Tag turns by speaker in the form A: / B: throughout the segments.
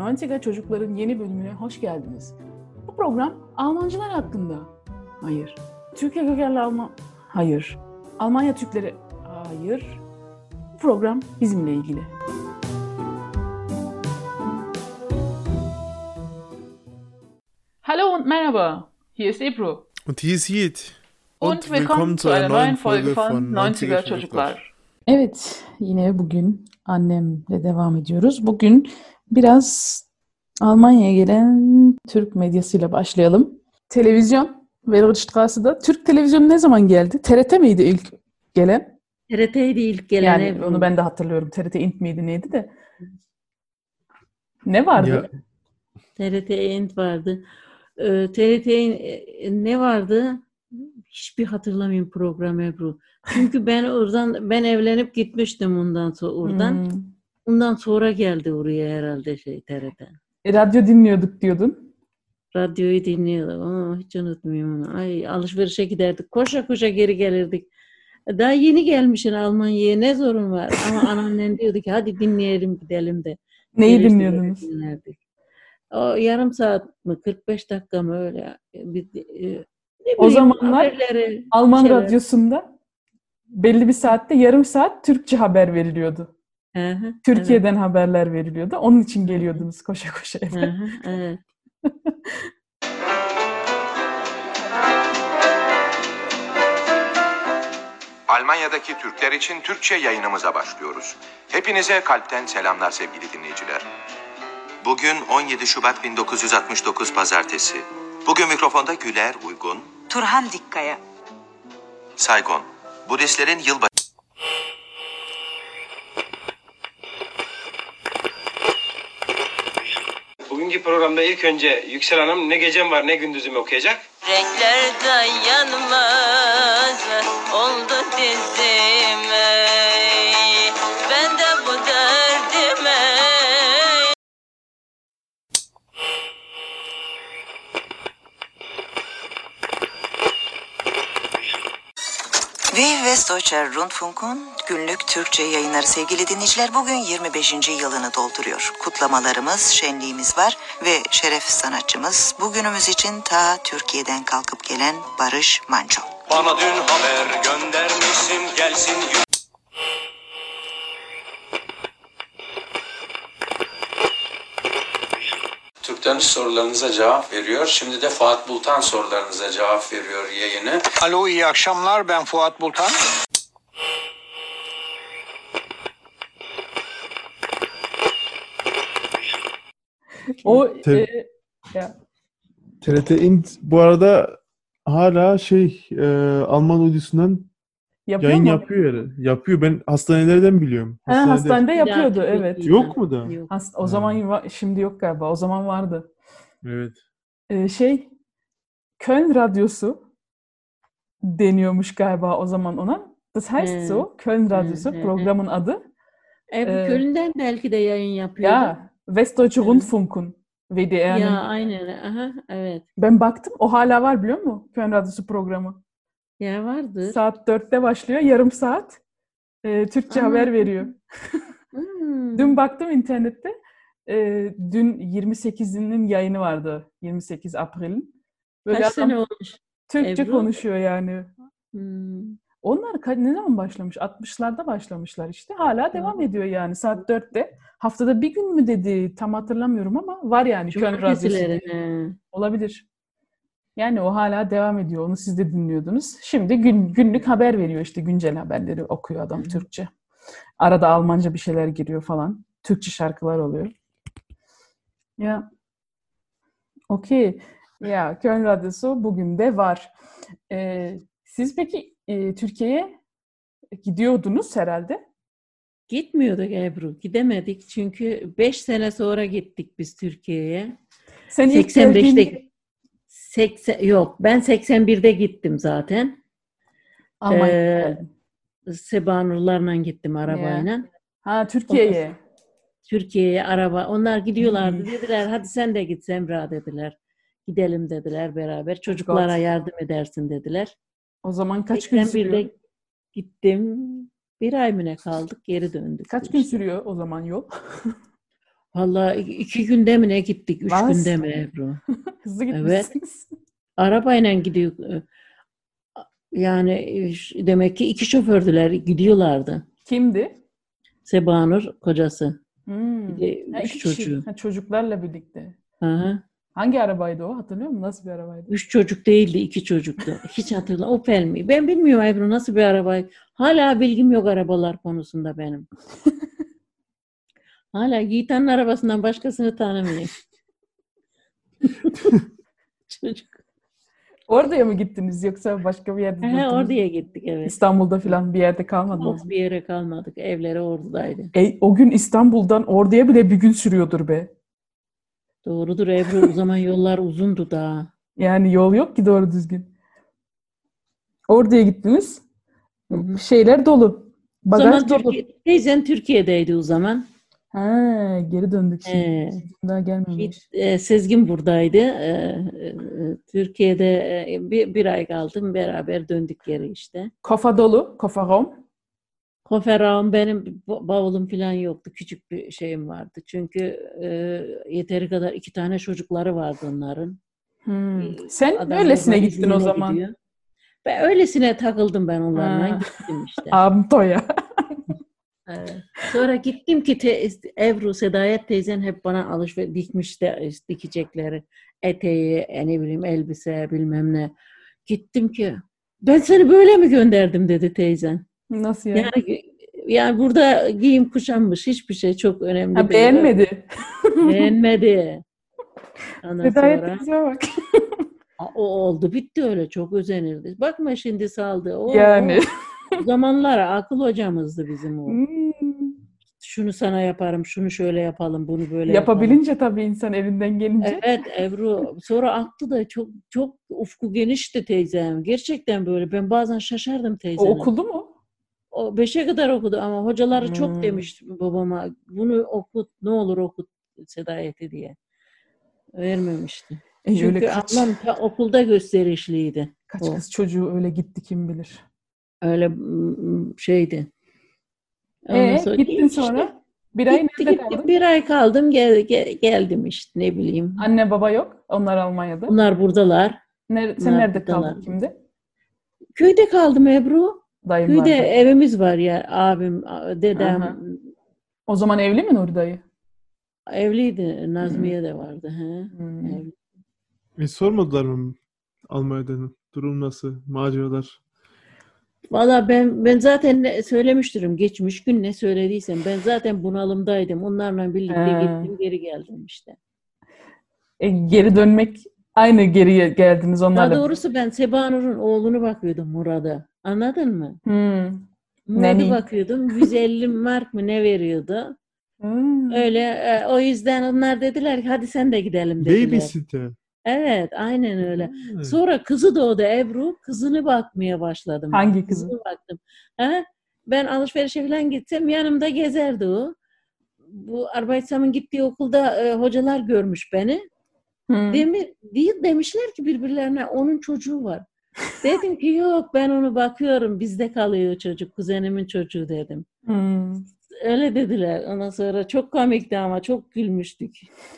A: Antika Çocukların yeni bölümüne hoş geldiniz. Bu program Almancılar hakkında. Hayır. Türkiye kökenli Alman... Hayır. Almanya Türkleri... Hayır. Bu program bizimle ilgili. Hallo und merhaba. Hier ist Ebru.
B: Und hier ist Yiğit.
A: Und, willkommen zu einer neuen Folge von 90er Çocuklar. Evet, yine bugün annemle devam ediyoruz. Bugün biraz Almanya'ya gelen Türk medyasıyla başlayalım. Televizyon, Velostrası'da. Türk televizyonu ne zaman geldi? TRT miydi ilk gelen?
C: TRT'ydi ilk gelen
A: Yani
C: ev.
A: onu ben de hatırlıyorum. TRT Int miydi neydi de. Ne vardı?
B: Ya,
C: TRT End vardı. Ee, TRT e, ne vardı? Hiçbir hatırlamıyorum program Ebru. Çünkü ben oradan ben evlenip gitmiştim ondan sonra oradan.
A: Hmm.
C: Ondan sonra geldi oraya herhalde şey TRT.
A: E, radyo dinliyorduk diyordun.
C: Radyoyu dinliyordum. Aa, hiç unutmuyorum onu. Ay alışverişe giderdik. Koşa koşa geri gelirdik. Daha yeni gelmişsin Almanya'ya ne sorun var? Ama anneannen diyordu ki hadi dinleyelim gidelim de.
A: Neyi
C: Gelirse
A: dinliyordunuz?
C: böyle dinlerdik. O yarım saat mi 45 dakika mı öyle bir e, ne
A: O
C: bileyim,
A: zamanlar
C: haberleri
A: Alman
C: şeyler.
A: radyosunda belli bir saatte yarım saat Türkçe haber veriliyordu.
C: Hı hı,
A: Türkiye'den haberler veriliyordu. Onun için geliyordunuz koşa koşa
C: evet,
A: eve.
C: hı hı, evet.
D: Almanya'daki Türkler için Türkçe yayınımıza başlıyoruz. Hepinize kalpten selamlar sevgili dinleyiciler. Bugün 17 Şubat 1969 Pazartesi. Bugün mikrofonda Güler Uygun,
E: Turhan Dikkaya.
D: Saygon. Budistlerin yılbaşı...
F: Bugünkü programda ilk önce Yüksel Hanım ne gecem var ne gündüzüm okuyacak.
G: Renkler dayanmaz oldu dizime Ben de bu derdime
E: Ve Westdeutscher Rundfunk'un günlük Türkçe yayınları sevgili dinleyiciler bugün 25. yılını dolduruyor. Kutlamalarımız, şenliğimiz var ve şeref sanatçımız bugünümüz için ta Türkiye'den kalkıp gelen Barış Manço.
D: Bana dün haber göndermişsin gelsin...
H: Türklerin sorularınıza cevap veriyor. Şimdi de Fuat Bultan sorularınıza cevap veriyor yayını.
I: Alo iyi akşamlar ben Fuat Bultan.
A: O
B: Tabii.
A: e,
B: TRT Int bu arada hala şey e, Alman uydusundan
A: yapıyor
B: yayın
A: mu?
B: yapıyor yani. Yapıyor. Ben hastanelerden biliyorum.
A: Ha, hastanede yapıyordu
C: Yok,
A: evet.
C: yok.
B: Yok mu da?
C: Yok.
A: Hast- o
B: Ha.
A: zaman va- şimdi yok galiba. O zaman vardı.
B: Evet.
A: E, şey Köln Radyosu deniyormuş galiba o zaman ona. Das heißt
C: Hı.
A: so, Köln Radyosu
C: hı, hı.
A: programın adı.
C: E, bu
A: Ee,
C: Köln'den belki de yayın yapıyor.
A: Ya Westdeutsche Rundfunk'un VDR'nin.
C: ya aynen. Aha, evet.
A: Ben baktım o hala var biliyor musun? Köln Radyosu programı.
C: Ya vardı.
A: Saat 4'te başlıyor. Yarım saat e, Türkçe
C: Aa.
A: haber veriyor.
C: Hmm.
A: Dün baktım internette. e, dün 28'inin yayını vardı. 28 April'in. Böyle
C: Kaç
A: adam
C: sene olmuş?
A: Türkçe
C: Ebru?
A: konuşuyor yani.
C: Hmm.
A: Onlar ka- ne zaman başlamış? 60'larda başlamışlar işte. Hala devam ediyor yani. Saat 4'te. Haftada bir gün mü dedi tam hatırlamıyorum ama var yani. Köln Radyosu diye.
C: Cumartesileri. he.
A: Olabilir. Yani o hala devam ediyor. Onu siz de dinliyordunuz. Şimdi gün, günlük haber veriyor işte güncel haberleri okuyor adam Türkçe. Arada Almanca bir şeyler giriyor falan. Türkçe şarkılar oluyor. Ya. Okey. Ya Köln Radyosu bugün de var. Ee, siz peki e, Türkiye'ye gidiyordunuz herhalde.
C: Gitmiyorduk Ebru. Gidemedik çünkü 5 sene sonra gittik biz Türkiye'ye.
A: Sen ilk geldiğinde
C: 85'te 80 yok ben 81'de gittim zaten.
A: Almanya'ya
C: Ee,
A: geldin.
C: Seba Nurlar'la gittim arabayla.
A: Ha Türkiye'ye.
C: Türkiye'ye araba. Onlar gidiyorlardı.
A: Hmm.
C: Dediler hadi sen de git Semra dediler. Gidelim dediler beraber. Çocuklara
A: God.
C: yardım edersin dediler.
A: O zaman kaç gün
C: 81'de
A: sürüyor?
C: gittim. Bir ay mı ne kaldık geri döndük.
A: Kaç gün sürüyor o zaman yol?
C: Vallahi iki günde mi ne gittik? Üç
A: Vaz.
C: günde mi Ebru?
A: Hızlı
C: Evet.
A: gitmişsiniz.
C: Arabayla gidiyor. e, Yani e, demek ki iki şofördüler gidiyorlardı.
A: Kimdi?
C: Sebanur kocası.
A: Hmm.
C: Bir de
A: Ha,
C: üç
A: iki kişi.
C: çocuğu.
A: Ha, çocuklarla birlikte.
C: Aha.
A: Hangi arabaydı o? Hatırlıyor musun? Nasıl bir arabaydı?
C: Üç çocuk değildi, iki çocuktu. Hiç hatırla. Opel mi? Ben bilmiyorum Ebru nasıl bir araba. Hala bilgim yok arabalar konusunda benim. Hala Yiğitan'ın arabasından başkasını tanımıyorum. Çocuk.
A: Oraya mı gittiniz yoksa başka bir yerde
C: He,
A: durdunuz?
C: oraya gittik evet.
A: İstanbul'da falan bir yerde kalmadınız.
C: Biz bir yere kalmadık. Evleri oradaydı.
A: E, o gün İstanbul'dan Ordu'ya bile bir gün sürüyordur be.
C: Doğrudur Ebru. O zaman yollar uzundu daha.
A: Yani yol yok ki doğru düzgün. Ordu'ya gittiniz. Şeyler dolu.
C: O
A: Bagaj
C: zaman
A: dolu.
C: Türkiye, teyzem Türkiye'deydi o zaman.
A: Ha, geri döndük şimdi.
C: Ee,
A: Daha gelmemiş.
C: Yiğit, e, Sezgin buradaydı. E, e, Türkiye'de e, bir, bir ay kaldım. Beraber döndük geri işte.
A: Kafa dolu. Kafa rom.
C: Koferağım benim ba- bavulum falan yoktu. Küçük bir şeyim vardı. Çünkü e, yeteri kadar iki tane çocukları vardı onların.
A: Hmm.
C: Ee,
A: Sen
C: Adam
A: öylesine
C: yollar
A: gittin o
C: iznine
A: zaman.
C: gidiyor. Ben öylesine takıldım ben onlarla.
A: Ha.
C: Gittim işte.
A: Abtoya.
C: Evet. Sonra gittim ki te, Ebru Sedayet teyzen hep bana alışveriş dikmiş de işte dikecekleri eteği, e, ne bileyim elbise bilmem ne. Gittim ki ben seni böyle mi gönderdim dedi teyzen.
A: Nasıl yani?
C: Yani, yani burada giyim kuşanmış hiçbir şey çok önemli
A: Ha,
C: değil.
A: beğenmedi.
C: Beğenmedi. Ondan
A: Hidayet
C: sonra
A: teyzeme bak.
C: "Aa, o oldu bitti öyle çok özenirdi. Bakma şimdi saldı. O,
A: Yani.
C: o zamanlar akıl hocamızdı bizim o.
A: Hmm.
C: şunu sana yaparım, şunu şöyle yapalım, bunu böyle yapalım.
A: Yapabilince tabii insan elinden gelince.
C: Evet Ebru. Sonra aklı da çok çok ufku genişti teyzem. Gerçekten böyle. Ben bazen şaşardım
A: O
C: teyzeme.
A: okuldu mu?
C: O beşe kadar okudu ama hocaları
A: Hmm.
C: çok demişti babama. Bunu okut, ne olur okut Sedayet'i diye. Vermemişti.
A: E, öyle
C: Çünkü
A: kaç,
C: ablam ta okulda gösterişliydi.
A: kaç
C: o.
A: kız çocuğu öyle gitti kim bilir.
C: Öyle mm, şeydi. Ondan
A: E,
C: sonra
A: gittin
C: işte
A: sonra. Bir ay
C: gitti,
A: nerede
C: gitti.
A: kaldın?
C: Bir ay kaldım gel, gel- geldim işte ne bileyim.
A: Anne baba yok. Onlar Almanya'da.
C: Bunlar buradalar.
A: Ner- sen
C: Bunlar
A: nerede kaldın
C: buradalar.
A: şimdi?
C: Köyde kaldım Ebru. Köyde
A: Dayımlarda.
C: evimiz var ya abim, a- dedem
A: Aha. O zaman evli mi Nur dayı?
C: evliydi. Nazmiye de vardı. He.
A: Hmm.
C: Evli.
B: E, sormadılar mı Almanya'dan? Durum nasıl? Maceralar.
C: Valla ben ben zaten ne söylemiştirim geçmiş gün ne söylediysem ben zaten bunalımdaydım. Onlarla birlikte
A: He.
C: gittim geri geldim işte.
A: E, geri dönmek aynı geriye geldiniz onlarla.
C: Daha doğrusu ben Sebanur'un oğlunu bakıyordum Murad'a. Anladın mı?
A: Hmm. Neni.
C: Murad'a bakıyordum. 150 mark mı ne veriyordu?
A: Hmm.
C: Öyle e, o yüzden onlar dediler ki hadi sen de gidelim dediler.
B: Babysitter.
C: Evet, aynen öyle.
B: Ha.
C: Sonra kızı doğdu Ebru. Kızını bakmaya başladım. ben.
A: Hangi kızı?
C: Kızını baktım. Ha? Ben alışverişe falan gitsem yanımda gezerdi o. Bu Arbeitsam'ın gittiği okulda e, hocalar görmüş beni.
A: Hmm.
C: Demi, değil demişler ki birbirlerine onun çocuğu var. Dedim ki yok ben onu bakıyorum bizde kalıyor çocuk kuzenimin çocuğu dedim.
A: Hmm.
C: Öyle dediler. Ondan sonra çok komikti ama çok gülmüştük.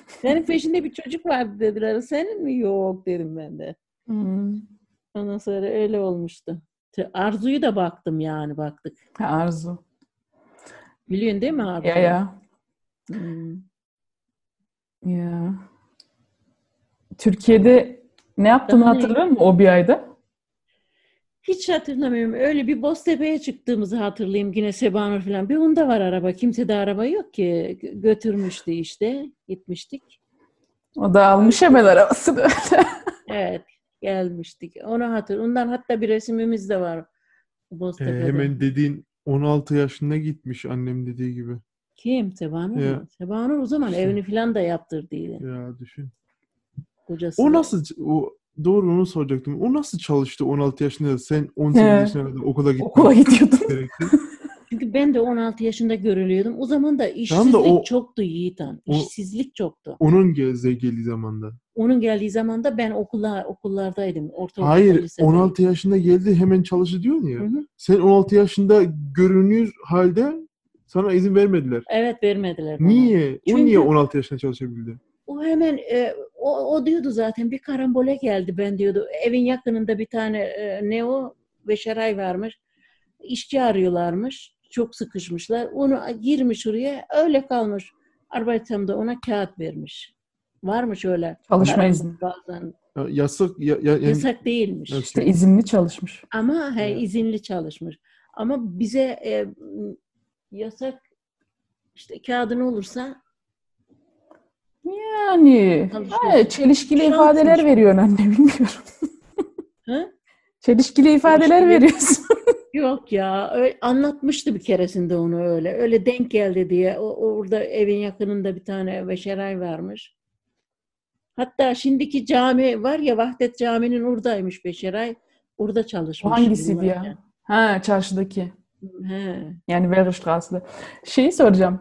C: Senin peşinde bir çocuk vardı dediler. Senin mi? Yok dedim ben de.
A: Hmm.
C: Ondan sonra öyle olmuştu. Te- Arzu'yu da baktım yani baktık.
A: Ha, Arzu.
C: Biliyorsun değil mi Arzu?
A: Ya ya.
C: Hmm.
A: Ya. Türkiye'de ne yaptığını
C: Daha ne?
A: hatırlıyor musun o bir ayda?
C: Hiç hatırlamıyorum. Öyle bir Boztepe'ye çıktığımızı hatırlayayım. Yine Sebanur falan. Bir onda var araba. Kimse de araba yok ki. Gö- Götürmüştü işte. Gitmiştik.
A: O da almış hemen arabasını.
C: Evet. Gelmiştik. Onu hatır. Ondan hatta bir resimimiz de var.
B: E,
C: Boztepe'de.
B: hemen dediğin 16 yaşında gitmiş annem dediği gibi.
C: Kim? Sebanur
B: Ya.
C: mu? Sebanur o zaman
B: İşte.
C: evini falan da yaptırdıydı.
B: Ya düşün.
C: Kocası.
B: O nasıl o doğru onu soracaktım. O nasıl çalıştı 16 yaşında? Sen 18
A: He.
B: yaşına kadar okula gittin.
A: Okula gidiyordun.
B: Gerekti.
C: Çünkü ben de 16 yaşında görülüyordum. O zaman da
B: Tamam
C: işsizlik
B: da o-
C: çoktu Yiğitan.
B: o-
C: İşsizlik çoktu.
B: Onun gezegeli zamanda.
C: Onun geldiği zaman da ben okula, okullardaydım. Ortaokulda,
B: Hayır,
C: lisede.
B: 16 yaşında geldi hemen çalışı diyorsun
C: Hı
B: ya.
C: hı.
B: Sen 16 yaşında görünür halde Sana izin vermediler.
C: Evet vermediler. bana.
B: Niye? O
C: Çünkü-
B: niye 16 yaşında çalışabildi?
C: O hemen e, o, o diyordu zaten bir karambole geldi ben diyordu. Evin yakınında bir tane e, ne o Beşeray varmış. İşçi arıyorlarmış. Çok sıkışmışlar. Onu girmiş oraya öyle kalmış. Arbeitem de ona kağıt vermiş. Varmış öyle.
A: Çalışma izni.
C: Bazen.
B: Ya, yasak ya, ya, yani-
C: Yasak değilmiş.
B: Evet.
A: İşte izinli çalışmış.
C: Ama he,
B: Evet.
C: izinli çalışmış. Ama bize e, m, yasak işte kağıdı ne olursa
A: Yani
C: Çalışma
A: ha, çelişkili
C: Şansmış.
A: ifadeler veriyor anne bilmiyorum.
C: Hı?
A: Çelişkili ifadeler
C: Çelişkili.
A: veriyorsun.
C: Yok ya, ö- anlatmıştı bir keresinde onu öyle. Öyle denk geldi diye. O, orada evin yakınında bir tane beşeray varmış. Hatta şimdiki cami var ya Vahdet Camii'nin oradaymış beşeray. Orada
A: O
C: çalışmış.
A: hangisiydi ya?
C: bunlarken.
A: Ha çarşıdaki.
C: He.
A: Yani Bergerstraße'de. Şeyi soracağım.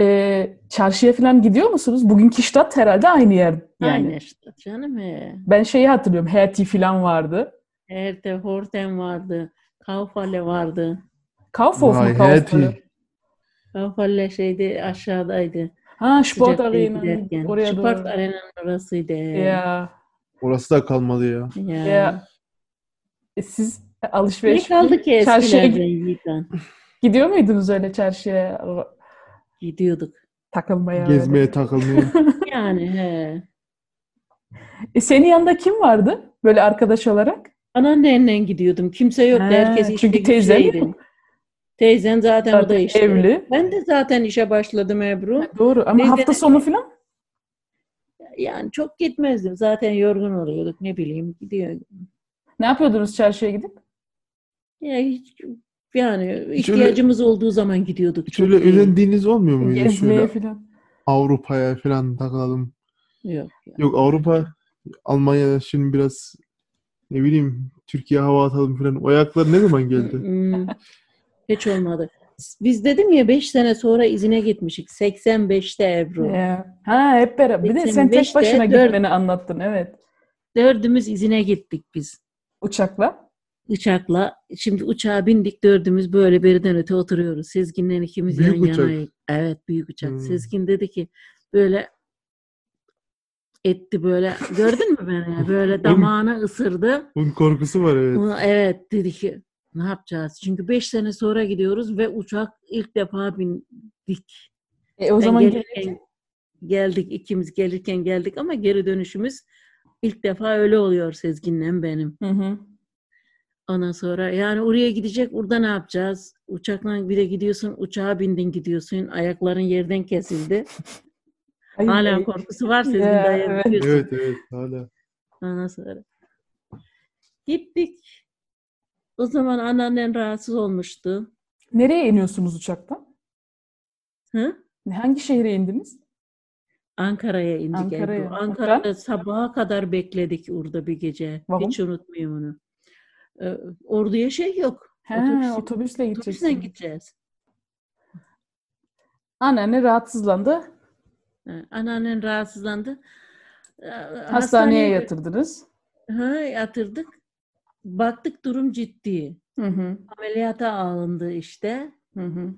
A: Ee, çarşıya falan gidiyor musunuz? Bugünkü Stadt herhalde aynı yer. Yani.
C: Aynı işte canım he.
A: Ben şeyi hatırlıyorum. Hertie falan vardı.
C: Erte Horten vardı. Kaufhalle vardı.
A: Kaufhof mu?
B: Vay,
A: Kaufhof?
B: Hertie.
C: Kaufhalle şeydi aşağıdaydı.
A: Ha Sport
C: Sıcak değil
A: Arena.
C: giderken.
A: Oraya
C: Sport
A: doğru.
C: Arena'nın orasıydı. he.
A: Ya.
B: Orası da kalmadı ya.
C: Ya.
A: Ya. E, siz
C: Ne
A: alışveriş
C: kaldı ki
A: Çarşıya
C: eskilerden Yiğitan?
A: gidiyor muydunuz öyle çarşıya o-
C: Gidiyorduk.
A: takılmaya? öyle?
B: Gezmeye takılmaya.
C: Yani he.
A: E, senin yanında kim vardı böyle arkadaş olarak?
C: Anneannenle gidiyordum. Kimse yoktu.
A: Ha,
C: Herkes işe
A: çünkü teyzen
C: güçteydi.
A: yok.
C: Teyzen zaten, o da
A: Zaten
C: işte.
A: evli.
C: Ben de zaten işe başladım Ebru.
A: Doğru ama
C: Teyze-
A: hafta sonu falan
C: Yani çok gitmezdim. Zaten yorgun oluyorduk. Ne bileyim gidiyor.
A: ne yapıyordunuz çarşıya gidip?
C: Ya hiç, yani
B: Hiç öyle-
C: ihtiyacımız olduğu zaman gidiyorduk.
B: Hiç
C: Çok
B: öyle
C: değil.
B: özendiğiniz olmuyor muydu?
A: Gezmeye
B: Hmm, Şöyle
A: falan.
B: Avrupa'ya falan takılalım.
C: Yok. ya.
B: Yok Avrupa, Almanya'da şimdi biraz ne bileyim Türkiye hava atalım falan. O ayaklar ne zaman geldi?
C: Hmm, Hiç olmadı. Biz dedim ya 5 sene sonra izine gitmişik. 85'te Ebru.
A: Ya. Ee, Ha hep beraber. Bir de sen tek
C: 85'te
A: başına
C: dört-
A: gitmeni anlattın evet.
C: Dördümüz izine gittik biz.
A: Uçakla.
C: uçakla. Şimdi uçağa bindik dördümüz böyle birden öte oturuyoruz. Sezgin'le ikimiz
B: Büyük
C: yan
B: uçak.
C: yanayız. Evet büyük uçak.
B: Hmm.
C: Sezgin dedi ki böyle etti böyle. Gördün mü beni? Böyle damağını ısırdı.
B: Bunun korkusu var evet.
C: Ona- Evet dedi ki ne yapacağız? Çünkü beş sene sonra gidiyoruz ve uçak ilk defa bindik.
A: E, o
C: Ben
A: zaman
C: gelirken geldik ikimiz gelirken geldik ama geri dönüşümüz ilk defa öyle oluyor Sezgin'le benim.
A: Hı hı.
C: Ondan sonra yani oraya gidecek, burada ne yapacağız? Uçakla bir de gidiyorsun, uçağa bindin gidiyorsun, ayakların yerden kesildi.
A: Ay, e,
C: Hala
A: ay.
C: korkusu var sizin
A: Ya,
C: dayak
A: evet.
C: yiyorsun.
B: Evet evet hala.
C: Ondan sonra. Gittik. O zaman anneannen rahatsız olmuştu.
A: Nereye iniyorsunuz uçaktan?
C: Hı?
A: Hangi şehre indiniz?
C: Ankara'ya indik.
A: Ankara'ya.
C: Ebru. Ankara'da sabaha kadar bekledik orada bir gece.
A: Vahum.
C: Hiç unutmayayım onu. Ee, orduya şey yok.
A: He,
C: Otobüs-
A: otobüsle
C: otobüsle
A: gideceksin.
C: gideceğiz.
A: Anneanne rahatsızlandı.
C: Ha, Ee, Anneannen rahatsızlandı. Ee,
A: Hastaneye yatırdınız.
C: Ha, yatırdık. Baktık durum ciddi.
A: Hı hı.
C: Ameliyata alındı işte.
A: Hı hı.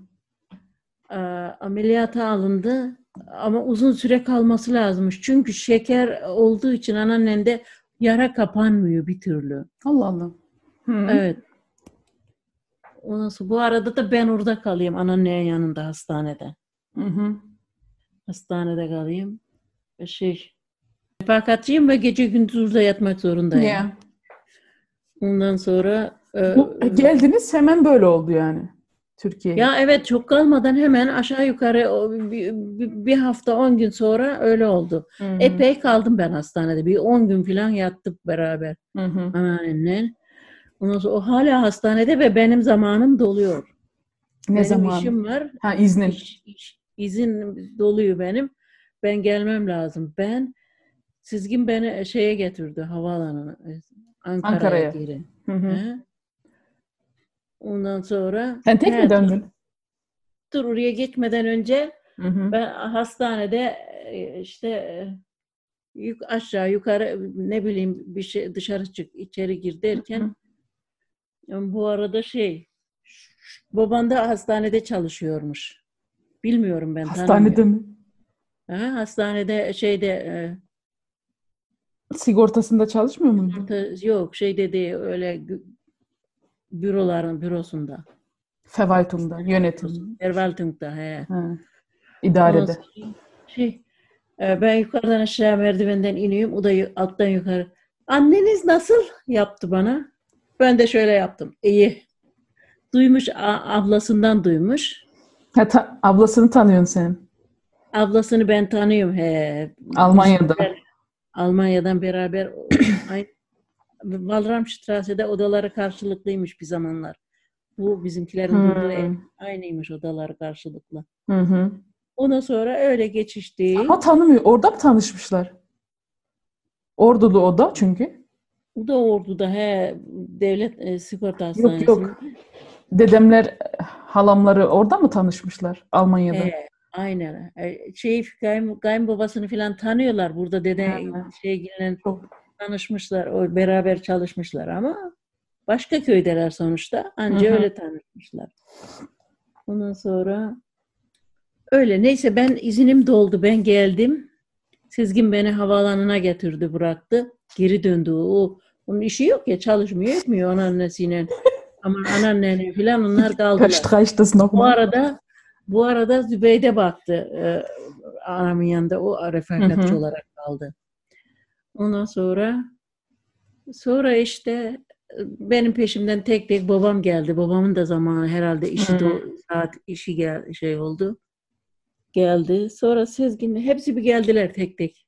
C: Ee, Ameliyata alındı ama uzun süre kalması lazımmış. Çünkü şeker olduğu için anneannende yara kapanmıyor bir türlü.
A: Allah Allah. Hı.
C: Evet. Ondan sonra bu arada da ben orada kalayım anneannenin yanında hastanede.
A: Hı hı.
C: Hastanede kalayım. Şey, refakatçiyim ve gece gündüz orada yatmak zorundayım.
A: Ya.
C: Ondan sonra e,
A: Bu- geldiniz hemen böyle oldu yani Türkiye'ye.
C: ya evet çok kalmadan hemen aşağı yukarı o bir, bir- bir hafta 10 gün sonra öyle oldu.
A: Hı hı.
C: Epey kaldım ben hastanede. Bir 10 gün falan yattık beraber
A: Hı hı.
C: anneannemle. Ondan sonra o hala hastanede ve benim zamanım doluyor.
A: Ne
C: benim
A: zaman?
C: işim var.
A: Ha iznin.
C: İş, iş- izin doluyor benim. Ben gelmem lazım. Ben Sizgin beni e, şeye getirdi havaalanına. e, Ankara'ya,
A: Ankara'ya.
C: geri.
A: Hı hı.
C: He. Ondan sonra
A: Sen tek mi
C: He, dur,
A: döndün?
C: dur oraya geçmeden önce
A: Hı hı.
C: ben hastanede e, işte e, yuk aşağı yukarı ne bileyim bir şey dışarı çık içeri gir derken bu arada şey Baban da hastanede çalışıyormuş. Bilmiyorum ben.
A: Hastanede
C: tanımıyorum.
A: mi?
C: Ha, hastanede şeyde e,
A: Sigortasında çalışmıyor mu?
C: orta- yok şeyde değil öyle gü- büroların bürosunda.
A: Fevaytum'da, yönetim.
C: Verwaltung'da he.
A: Ha. İdarede.
C: Ondan sonra Şey, e, ben yukarıdan aşağı merdivenden iniyorum. O da yu- alttan yukarı. Anneniz nasıl yaptı bana? Ben de şöyle yaptım. İyi. Duymuş, a- ablasından duymuş.
A: Ha, ta- ablasını tanıyorsun sen.
C: Ablasını ben tanıyorum. He.
A: Almanya'da.
C: Beraber- Almanya'dan beraber ay, Wallrammstrasse'de odaları karşılıklıymış bir zamanlar. Bu bizimkilerin
A: Hmm.
C: durduğu ev aynıymış odaları karşılıklı.
A: Hı hı.
C: Ondan sonra öyle geçişti.
A: Ama tanımıyor. Orada mı tanışmışlar? Ordulu o da çünkü.
C: Bu da orduda he devlet e, sigorta hastanesinde.
A: Yok yok. Dedemler, eh, halamları orada mı tanışmışlar? Almanya'da.
C: He, aynen. E, Şey kayın, kayınbabasını falan tanıyorlar burada dede
A: Ha.
C: şey gelen
A: Çok.
C: tanışmışlar. O beraber çalışmışlar ama başka köydeler sonuçta. Anca
A: Hı hı.
C: öyle tanışmışlar. Ondan sonra öyle neyse ben izinim doldu. Ben geldim. Sezgin beni havaalanına getirdi, bıraktı. Geri döndü. O onun işi yok ya, çalışmıyor, etmiyor anneannesiyle. Ama anneanneyle falan onlar kaldılar.
A: Kaçtı kaçtı
C: Bu
A: nokma.
C: arada bu arada Zübeyde baktı e, anamın yanında o refakatçi
A: Hı hı.
C: olarak kaldı. Ondan sonra sonra işte e, benim peşimden tek tek babam geldi. Babamın da zamanı herhalde işi
A: Hı.
C: do- saat işi gel şey oldu. Geldi. Sonra Sezgin'le hepsi bir geldiler tek tek.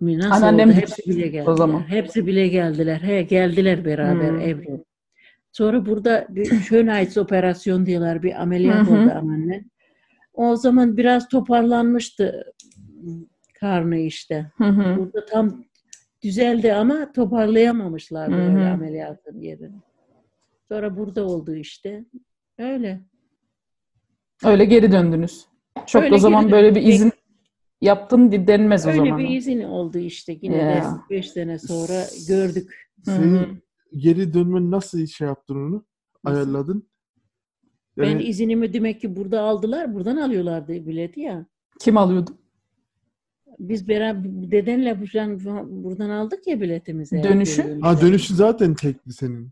C: Mi, Nasıl
A: Anneannem
C: oldu?
A: de
C: Hepsi bile geldiler.
A: zaman.
C: Hepsi bile geldiler. He, geldiler beraber
A: Hı.
C: evde. Sonra burada bir Schönheits operasyon diyorlar. Bir ameliyat
A: Hı hı.
C: oldu anne. O zaman biraz toparlanmıştı karnı işte.
A: Hı hı.
C: Burada tam düzeldi ama toparlayamamışlardı
A: Hı hı.
C: öyle ameliyatın yerini. Sonra burada oldu işte. Öyle.
A: Öyle geri döndünüz. Çok
C: Öyle
A: o zaman
C: geri
A: böyle bir
C: döndük.
A: izin yaptın di- denmez o
C: Öyle
A: zaman.
C: bir izin oldu işte. Yine
A: Ya.
C: de beş sene sonra gördük.
A: Hı
B: Senin
A: hı.
B: geri dönmen nasıl şey yaptın onu?
C: Nasıl?
B: Ayarladın.
C: Ben
B: Yani
C: izinimi demek ki burada aldılar. Buradan alıyorlardı bileti ya.
A: Kim alıyordu?
C: Biz beraber dedenle buradan, buradan aldık ya biletimizi.
A: Dönüşü?
B: ha dönüşü zaten tekli senin.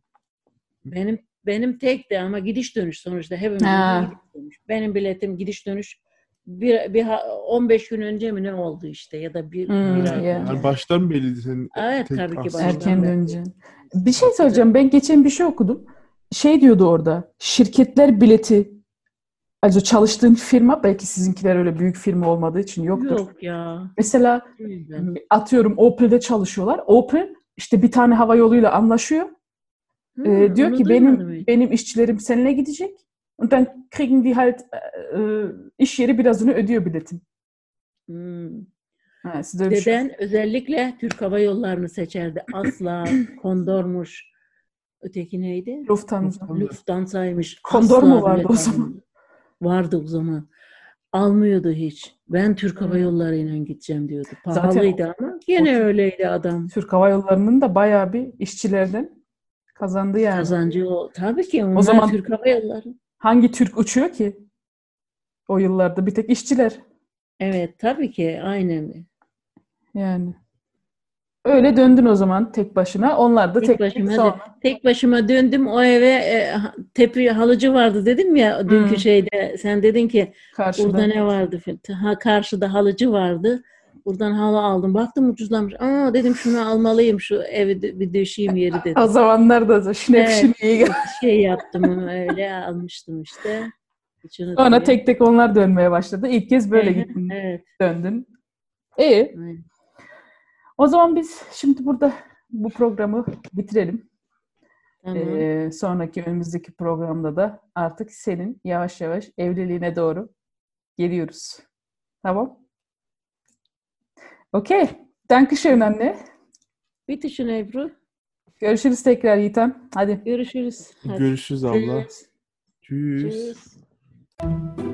C: Benim benim tek de ama gidiş dönüş sonuçta hepimizin
A: Ha.
C: gidiş dönüş. Benim biletim gidiş dönüş bir, bir ha- 15 gün önce mi ne oldu işte ya da bir,
A: Hmm,
C: bir ay.
A: ya.
C: önce.
B: Yani baştan belliydi senin.
C: Evet, tabii ki
B: aslında.
C: baştan.
A: Erken
C: ben-
A: döneceğin. Bir şey söyleyeceğim. Ben geçen bir şey okudum. Şey diyordu orada. Şirketler bileti. acaba çalıştığın firma belki sizinkiler öyle büyük firma olmadığı için yoktur.
C: Yok ya.
A: Mesela
C: değil ben.
A: atıyorum Opel'de çalışıyorlar. Opel işte bir tane hava yoluyla anlaşıyor. Ee,
C: Hı,
A: diyor
C: onu
A: ki benim
C: duymadım hiç.
A: benim işçilerim seninle gidecek. Und dann kriegen die halt e, e, iş yeri birazını ödüyor biletin.
C: Hı.
A: Ha, siz öyle bir şey-
C: Hmm. Deden özellikle Türk Hava Yolları'nı seçerdi. Asla Kondor'muş. Öteki neydi?
A: Lufthansa.
C: Lufthansa'ymış.
A: Kondor mu vardı
C: bilet
A: o zaman?
C: almıyordu. Vardı o zaman. Almıyordu hiç. Ben Türk Hava Yolları'yla gideceğim diyordu.
A: Hmm. Zaten
C: Pahalıydı ama gene
A: Türk-
C: öyleydi adam.
A: Türk Hava Yolları'nın da bayağı bir işçilerden kazandı yani.
C: Kazancı o. Tabii ki onlar
A: zaman-
C: Türk Hava Yolları.
A: Hangi Türk uçuyor ki? O yıllarda bir tek işçiler
C: Evet tabii ki aynen.
A: yani. Öyle döndün o zaman tek başına. Onlar da
C: Tek
A: tek, tek
C: başıma
A: sonra.
C: Tek başıma döndüm o eve e, ha- tepi halıcı vardı dedim ya dünkü
A: Hı.
C: şeyde sen dedin ki
A: Hmm. Karşıda.
C: burada ne vardı? filan. Ha, karşıda halıcı vardı. Buradan halı aldım. Baktım ucuzlamış. Aa dedim şunu almalıyım şu evi de- bir döşeyim yeri dedim.
A: O zamanlar da şinepşin iyi geldi.
C: şey yaptım onu öyle almıştım işte. Hiç
A: Sonra
C: unutmuyorum.
A: tek tek onlar dönmeye başladı. İlk kez böyle
C: Hı hı,
A: gittin,
C: Evet.
A: döndün. E
C: evet.
A: o zaman biz şimdi burada bu programı bitirelim.
C: Tamam.
A: Ee, sonraki önümüzdeki programda da artık senin yavaş yavaş evliliğine doğru geliyoruz. Tamam? Okey. Dankeschön anne.
C: Bitişin Ebru.
A: Görüşürüz tekrar Yiğitem. Hadi.
C: Görüşürüz. Hadi.
B: Görüşürüz abla. Tschüss.
C: Tschüss.